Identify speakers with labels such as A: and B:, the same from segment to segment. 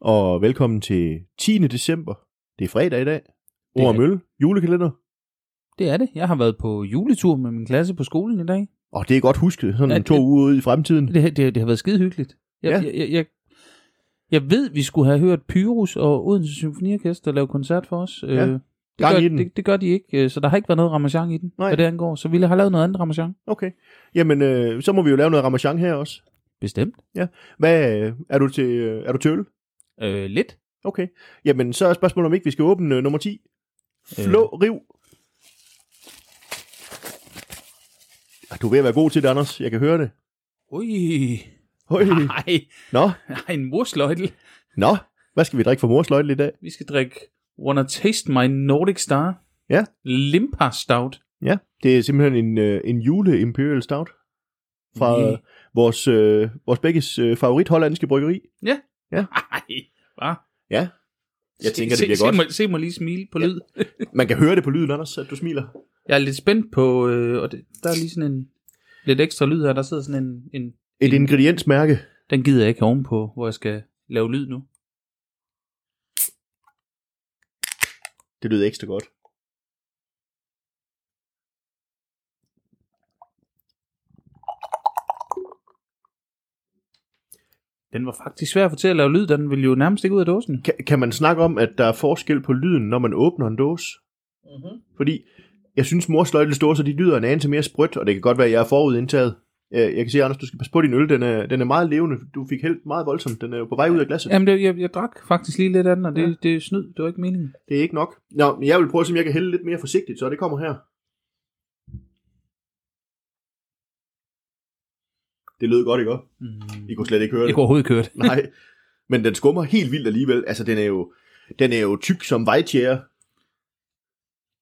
A: og velkommen til 10. december. Det er fredag i dag.
B: Det
A: Ord og
B: er-
A: Mølle, julekalender.
B: Det er det. Jeg har været på juletur med min klasse på skolen i dag.
A: Og det er godt husket, sådan
B: Ja,
A: ja,
B: det-
A: to uger ude i fremtiden.
B: Det, det, det har været skide hyggeligt. Jeg,
A: Ja.
B: jeg, jeg, jeg, jeg ved, vi skulle have hørt Pyrus og Odense Symfoniorkester lave koncert for os.
A: Ja.
B: Øh, det,
A: Gang
B: gør,
A: i den.
B: det, det gør de ikke, øh, så der har ikke været noget ramachan i den,
A: Nej.
B: hvad det angår. Så ville jeg have lavet noget andet ramachan.
A: Okay. Jamen, øh, så må vi jo lave noget ramachan her også.
B: Bestemt.
A: Hvad, øh, er du til, øh, er du til øl?
B: Øh, lidt.
A: Okay. Jamen, så er spørgsmålet, om ikke vi skal åbne øh, nummer 10. Flå, riv. Ah, Du er ved at være god til det, Anders. Jeg kan høre det.
B: Øh, Ui.
A: Høj.
B: Nej,
A: Nå,
B: nej, en morsløjtel.
A: nå. Hvad skal vi drikke for morsløjtel i dag?
B: Vi skal drikke Wanna Taste My Nordic Star.
A: Ja.
B: Limpa Stout.
A: Ja, det er simpelthen en, øh, en jule Imperial Stout fra
B: Næ.
A: øh, vores, øh, vores begges øh, favorit hollandske bryggeri.
B: Ej, hva?
A: Ja. Jeg
B: Se-
A: tænker, det
B: se,
A: bliver
B: se,
A: godt.
B: Mig, se mig lige smile på lyd.
A: Man kan høre det på lyden, Anders, at du smiler.
B: Jeg er lidt spændt på, øh, og det, der er lige sådan en lidt ekstra lyd her. Der sidder sådan en, en
A: Et ingrediensmærke.
B: den gider jeg ikke have ovenpå, hvor jeg skal lave lyd nu.
A: Det lyder ekstra godt.
B: Den var faktisk svær at få til at lave lyd, da den ville jo nærmest ikke ud af dåsen.
A: Kan, kan man snakke om, at der er forskel på lyden, når man åbner en dåse?
B: Mm-hmm.
A: Fordi jeg synes, morsløjtels dåser, de lyder en anelse mere sprødt, og det kan godt være, at jeg er forudindtaget. Øh, Jeg kan sige, Anders, du skal passe på din øl. Den er, den er meget levende. Du fik helt meget voldsomt. Den er jo på vej ud af glasset.
B: Jamen, det, jeg, jeg drak faktisk lige lidt af den, og det,
A: Ja.
B: ja. det er snyd. Det var ikke meningen.
A: Det er ikke nok. Nå, men jeg vil prøve at se, om jeg kan hælde lidt mere forsigtigt, så det kommer her. Det lød godt, ikke også?
B: Mm.
A: I kunne slet ikke høre
B: Jeg
A: det.
B: kunne overhovedet køre det.
A: Nej, men den skummer helt vildt alligevel. Altså, den er jo, den er jo tyk som vejtjære.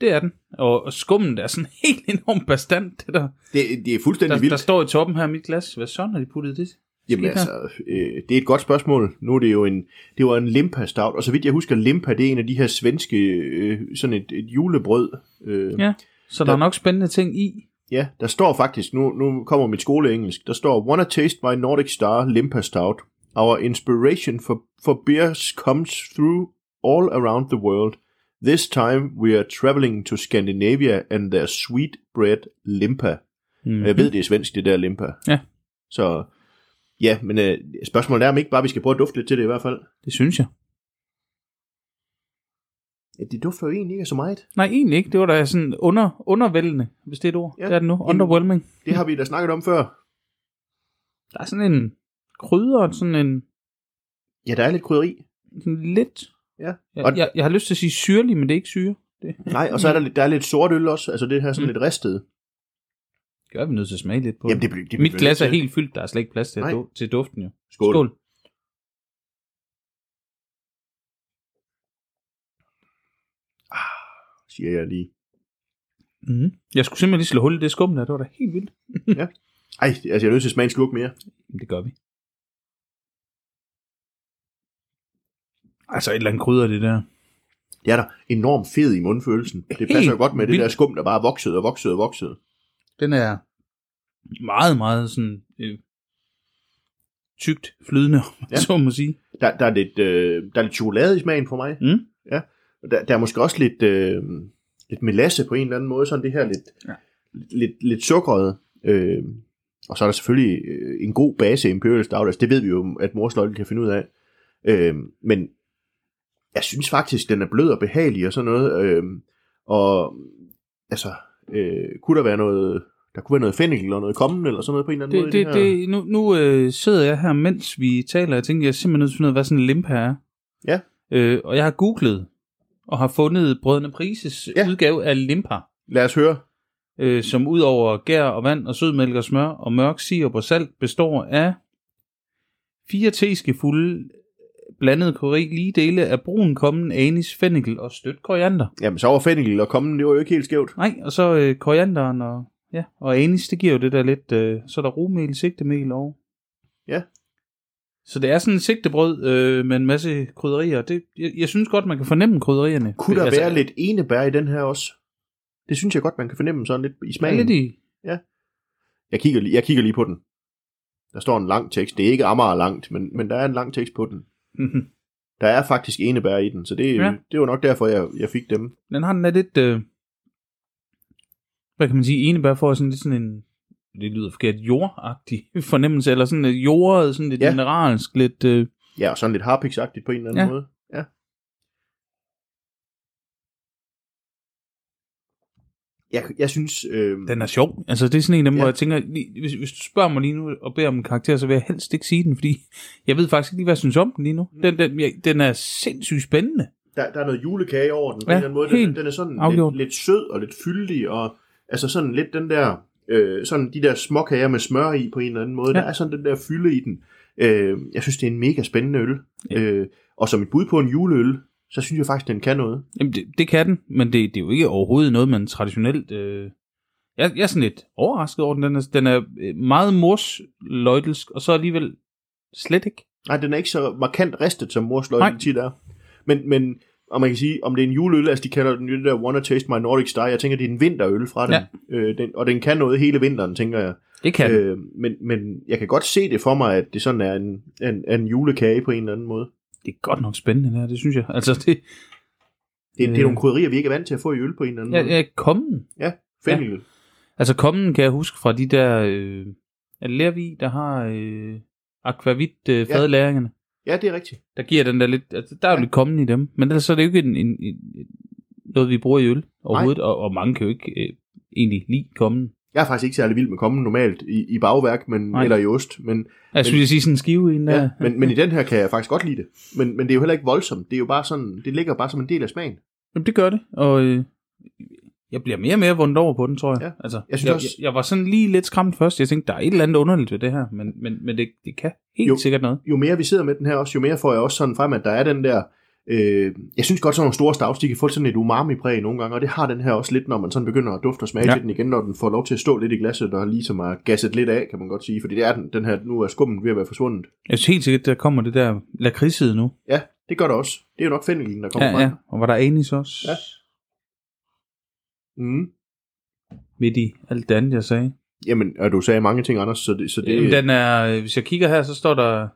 B: Det er den. Og, og skummen er sådan helt enormt bestandt, det der.
A: Det, det er
B: Der,
A: fuldstændig
B: der
A: vildt.
B: står i toppen her af mit glas. Hvad sådan har de puttet i det?
A: Jamen
B: Skidt her.
A: altså, øh, det er et godt spørgsmål. Nu er det jo en, det var en limpa stout, og så vidt jeg husker, limpa, det er en af de her svenske, øh, sådan et, et julebrød. Øh,
B: Ja. Så der
A: Der-
B: er nok spændende ting i.
A: Ja, der står faktisk, nu, nu kommer mit skoleengelsk, der står, Wanna taste my Nordic Star Limpa Stout. Our inspiration for, for beers comes through all around the world. This time we are traveling to Scandinavia and their sweet bread Limpa.
B: Mm.
A: Mm-hmm. Jeg ved, det er svensk, det der Limpa.
B: Ja.
A: Så, ja, men øh, spørgsmålet er, om ikke bare vi skal prøve at dufte lidt til det i hvert fald.
B: Det synes jeg.
A: Ja, det dufter jo egentlig ikke af så meget.
B: Nej, egentlig ikke. Det var da sådan under, undervældende, hvis det er et ord.
A: Ja.
B: Ja. Det er det nu. Underwhelming.
A: Det har vi da snakket om før.
B: Der er sådan en krydder og sådan en
A: Ja, der er lidt krydderi.
B: sådan lidt...
A: Ja.
B: Jeg,
A: Og-
B: jeg, jeg har lyst til at sige syrlig, men det er ikke syre. Det
A: Nej, og så er der, lidt- der er lidt sort øl også, altså det her sådan
B: Mm.
A: lidt ristet.
B: gør vi nødt til at smage lidt på.
A: Jamen, det,
B: det,
A: bliver- det
B: det
A: bliver
B: Mit glas er
A: nødt til.
B: helt fyldt. Der er slet ikke plads til,
A: Nej.
B: du, til duften, jo.
A: Skål. Skål. Siger jeg lige.
B: Mm. Jeg skulle simpelthen lige slå hul i det skum der. Det var da helt vildt.
A: Ej, altså jeg er nødt til at smage en slurk mere.
B: Jamen, det gør vi. Altså et eller andet krydder, det der.
A: Det er der enormt fed i mundfølelsen. Det
B: Helt
A: passer jo godt med det
B: vildt.
A: der skum, der bare voksede og voksede og voksede.
B: Den er meget, meget sådan øh, tykt, flydende,
A: Ja.
B: ja. så må man sige.
A: Der, der, er lidt, øh, der er lidt chokolade i smagen for mig.
B: Mm.
A: Ja. Og Der, der er måske også lidt, øh, lidt melasse på en eller anden måde. Sådan det her lidt, ja.
B: Ja.
A: lidt, lidt sukkeret. Øh, og så er der selvfølgelig øh, en god base i Imperial Stout. Altså, det ved vi jo, at morsløjten kan finde ud af. Øh, men jeg synes faktisk, den er blød og behagelig og sådan noget. Øh, og altså, øh, kunne der være noget... Der kunne være noget fennikel eller noget kommende eller sådan noget på en eller anden
B: Det,
A: måde. i
B: det,
A: her-
B: det, nu nu øh, sidder jeg her, mens vi taler, og jeg tænker, jeg er simpelthen nødt til at finde ud af, hvad sådan en limpa er.
A: Ja.
B: Øh, og jeg har googlet, og har fundet Brødrene Prises
A: Ja.
B: ja. udgave af limpa,
A: Lad os høre.
B: øh, som udover gær og vand og sødmælk og smør og mørk sirup og salt, består af fire teskefulde blandet kori, lige dele af brun, kommen, anis, fennikel og stødt koriander.
A: Jamen, så var fennikel og kommen, det var jo ikke helt skævt.
B: Nej, og så øh, korianderen og, ja, og anis, det giver jo det der lidt, øh, så er der rugmel, sigtemel og...
A: Ja.
B: Så det er sådan en sigtebrød øh, med en masse krydderier. Det, jeg, jeg synes godt, man kan fornemme krydderierne.
A: Kunne der
B: altså,
A: være lidt enebær i den her også? Det synes jeg godt, man kan fornemme sådan lidt i
B: der er
A: smagen.
B: lidt i?
A: Jeg, kigger, lige- jeg kigger lige på den.
B: Mhm.
A: Der står en lang tekst. Det er ikke Amager langt, men, men der er en lang tekst på den. Der er faktisk enebær i den, så det,
B: Ja.
A: ja. det var nok derfor, jeg, jeg fik dem.
B: Den har den er lidt, øh, hvad kan man sige, enebær får sådan lidt sådan en, det lyder forkert, jordagtig fornemmelse, eller sådan lidt jordet, sådan lidt ja.
A: Ja.
B: mineralsk, lidt, øh,
A: Ja, og sådan lidt harpiksagtigt på en eller anden
B: Ja.
A: ja. måde. Ja. Jeg, jeg synes... Øh,
B: den er sjov. Altså det er sådan en af dem, ja.
A: Ja.
B: hvor jeg tænker, lige- hvis, hvis du spørger mig lige nu og beder om en karakter, så vil jeg helst ikke sige den, fordi jeg ved faktisk ikke lige, hvad jeg synes om den lige nu. Den, den, jeg, den er sindssygt spændende.
A: der, der er noget julekage over den på
B: Ja,
A: ja, en eller anden måde. Den,
B: helt
A: den er sådan
B: afgjort.
A: lidt, lidt sød og lidt fyldig, og altså sådan lidt den der, øh, sådan de der småkager med smør i på en eller anden måde.
B: Ja.
A: Ja. Der er sådan den der fylde i den. Øh, jeg synes, det er en mega spændende øl.
B: Ja.
A: Ja. Øh, og som et bud på en juleøl, så synes jeg faktisk, den kan noget.
B: Jamen, det, det kan den, men det, det er jo ikke overhovedet noget, man traditionelt... Øh... Jeg, jeg er sådan lidt overrasket over den. Den er, den er øh, meget morsløjtelsk, og så alligevel slet ikke.
A: Nej, den er ikke så markant ristet, som mors
B: Nej.
A: løgn tit er. Men, men og man kan sige, om det er en juleøl, altså de kalder den jo det der Wanna Taste My Nordic Star, jeg tænker, det er en vinterøl fra den.
B: Ja.
A: Øh, den og den kan noget hele vinteren, tænker jeg.
B: Det kan øh,
A: Øh, men, men jeg kan godt se det for mig, at det sådan er en, en, en julekage på en eller anden måde.
B: Det er godt nok spændende, det her, det synes jeg. Altså, det
A: Det, øh. det
B: Øh.
A: er nogle krydderier, vi ikke er vant til at få i øl på en eller anden
B: er,
A: måde.
B: er kommen.
A: Fennel.
B: Altså, kommen kan jeg huske fra de der... Øh, er det Lervi, der har øh, akvavit øh, fadlæringerne?
A: Ja, det er rigtigt.
B: Der giver den der lidt... Altså, der er jo
A: Ja.
B: lidt kommen i dem, men ellers så er det jo ikke en, en, en, noget, vi bruger i øl overhovedet, og, og mange kan jo ikke øh, egentlig lide Altså, kommen.
A: Jeg er faktisk ikke særlig vild med kommen normalt i, i bagværk men,
B: Nej.
A: eller i ost, men,
B: Jeg skulle lige sige sådan en skive i en der.
A: ja, men, men i den her kan jeg faktisk godt lide det. Men, men det er jo heller ikke voldsomt. Det er jo bare sådan, det ligger bare som en del af smagen.
B: Jamen, det gør det, og øh, jeg bliver mere og mere vundet over på den, tror jeg.
A: Ja.
B: Altså,
A: Jeg synes
B: jeg,
A: også-
B: jeg, jeg var sådan lige lidt skræmt først. Jeg tænkte, der er et eller andet underligt ved det her, men, men, men det, det kan helt jo.
A: Jo.
B: sikkert noget.
A: Jo mere vi sidder med den her også, jo mere får jeg også sådan frem, at der er den der... Øh, jeg synes godt, sådan nogle store stavs, de kan få sådan et umami-præg nogle gange, og det har den her også lidt, når man sådan begynder at dufte og smage
B: Ja.
A: ja. til den igen, når den får lov til at stå lidt i glasset og ligesom er gasset lidt af, kan man godt sige, fordi det er den, den her, nu er skummen ved at være forsvundet.
B: Jeg synes helt sikkert, der kommer det der lakridside nu.
A: Ja, det gør det også. Det er jo nok fennelen, der kommer
B: Ja,
A: frem.
B: ja. Og var der anis også?
A: Ja. Mm.
B: Midt i alt det andet, jeg sagde.
A: Jamen, og du sagde mange ting, Anders, så det... Så det
B: Jamen, den er, øh, hvis jeg kigger her, så står der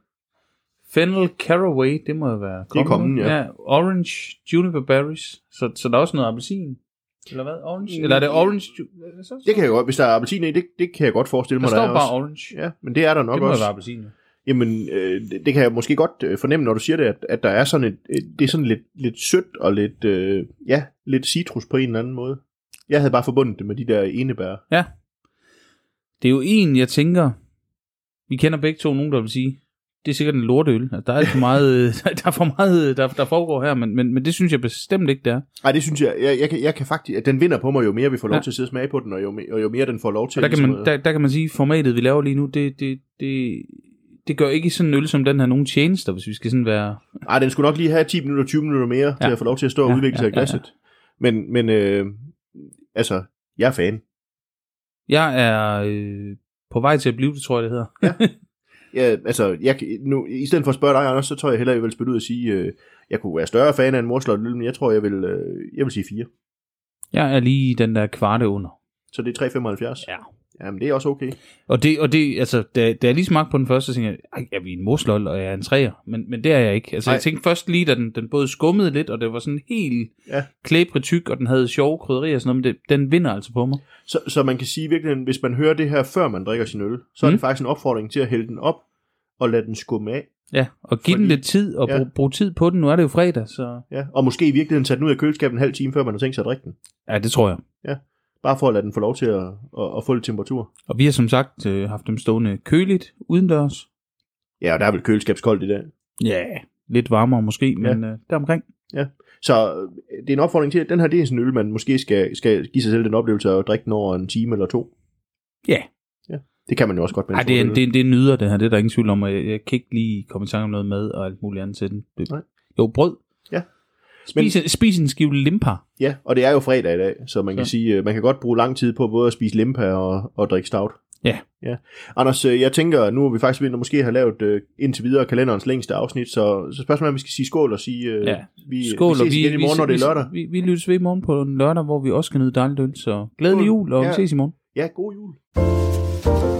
B: Fennel Caraway, det må jo være
A: er kommen, ja.
B: ja. Orange Juniper Berries, så, så der er også noget appelsin. Eller hvad? Orange? Eller er det orange? ju- Hvad er det så?
A: det kan Mm. jeg godt, hvis der er appelsin i, det, det kan jeg godt forestille
B: Der
A: mig,
B: står
A: er
B: bare
A: også.
B: orange.
A: Ja, men det er der nok
B: det må jo
A: også.
B: være appelsin. jo.
A: Jamen, øh, det, det kan jeg måske godt øh, fornemme, når du siger det, at, at der er sådan et, et, det er sådan lidt, lidt sødt og lidt, øh, ja, lidt citrus på en eller anden måde. Jeg havde bare forbundet det med de der enebær.
B: Det er jo en, jeg tænker, vi kender begge to nogen, der vil sige, det er sikkert en lorteøl. Altså, der er alt for meget, øh, der er for meget øh, der, der foregår her, men, men, men det synes jeg bestemt ikke, det er.
A: Nej, det synes jeg, jeg, jeg, kan, jeg kan faktisk, at den vinder på mig, jo mere vi får lov
B: Ja.
A: ja. til at sidde og smage på den, og jo, me- og jo mere den får lov til.
B: Og der, kan
A: ligesom
B: man,
A: at-
B: der, der kan man sige, at formatet, vi laver lige nu, det, det, det, det gør ikke sådan en øl som den her nogen tjenester, hvis vi skal sådan være...
A: Ej, den skulle nok lige have 10 minutter, 20 minutter mere,
B: Ja.
A: ja. til at få lov til at stå og
B: Ja,
A: udvikle sig
B: ja,
A: i glasset. Men, men øh, altså, jeg er fan.
B: Jeg er øh, på vej til at blive det, tror jeg, det hedder.
A: Ja, altså, jeg, kan- nu, i stedet for at spørge dig, Anders, så tror jeg hellere, jeg vil spille ud og sige, øh, jeg kunne være større fan af en morslot øl, men jeg tror, jeg vil, øh, jeg vil sige 4.
B: Jeg er lige den der kvarte under.
A: Så det er 3,75.
B: Ja.
A: Jamen, det er også okay.
B: Og det, og det altså, da, da jeg lige smagte på den første, så tænkte jeg, Ej, jeg er vi en moslol, og jeg er en træer, men, men det er jeg ikke. Altså, Ej.
A: Nej.
B: jeg tænkte først lige, da den, den både skummede lidt, og det var sådan helt ja.
A: Ja.
B: klæbrig tyk, og den havde sjove krydderier og sådan noget, men det, den vinder altså på mig.
A: Så, så man kan sige virkelig, hvis man hører det her, før man drikker sin øl, så mm. er
B: Mm.
A: det faktisk en opfordring til at hælde den op og lade den skumme af.
B: Ja, og give den
A: Fordi-
B: lidt tid, og
A: ja.
B: brug, brug tid på den. Nu er det jo fredag, så...
A: Ja. Og måske i virkeligheden tage den ud af køleskabet en halv time, før man har tænkt sig at drikke den.
B: Ja, det tror jeg.
A: Bare for at lade den få lov til at, at, at få lidt temperatur.
B: Og vi har som sagt øh, haft dem stående køligt, udendørs.
A: Ja, og der er vel køleskabskoldt i dag.
B: Ja, lidt varmere måske, men øh, deromkring.
A: Så øh, det er en opfordring til, at den her det er sådan en øl, man måske skal, skal give sig selv den oplevelse at drikke den over en time eller to.
B: Ja.
A: ja. Det kan man jo også godt med en
B: Ej, det er,
A: stor
B: en-
A: øl.
B: det, er, det er en nyder, det her. Det er der ingen tvivl om, og jeg, jeg kan ikke lige komme i tanke om noget mad og alt muligt andet til den. Det,
A: Nej.
B: Jo, brød.
A: Ja.
B: Spis, men, spis en skive limper.
A: Ja, og det er jo fredag i dag, så man så.
B: Så.
A: kan sige, øh, man kan godt bruge lang tid på både at spise limpa og, og drikke stout.
B: Ja.
A: ja. Anders, øh, jeg tænker, nu er vi faktisk ved at måske have lavet øh, indtil videre kalenderens længste afsnit, så, så spørgsmålet er, om vi skal sige skål og sige, øh,
B: Ja.
A: vi,
B: Skål,
A: vi ses igen i morgen, når det er lørdag.
B: Vi, vi, vi lyttes ved i morgen på en lørdag, hvor vi også skal nyde dejligt øl. Så glædelig
A: Skål.
B: jul, og vi
A: Ja.
B: ses i morgen.
A: Ja, god jul.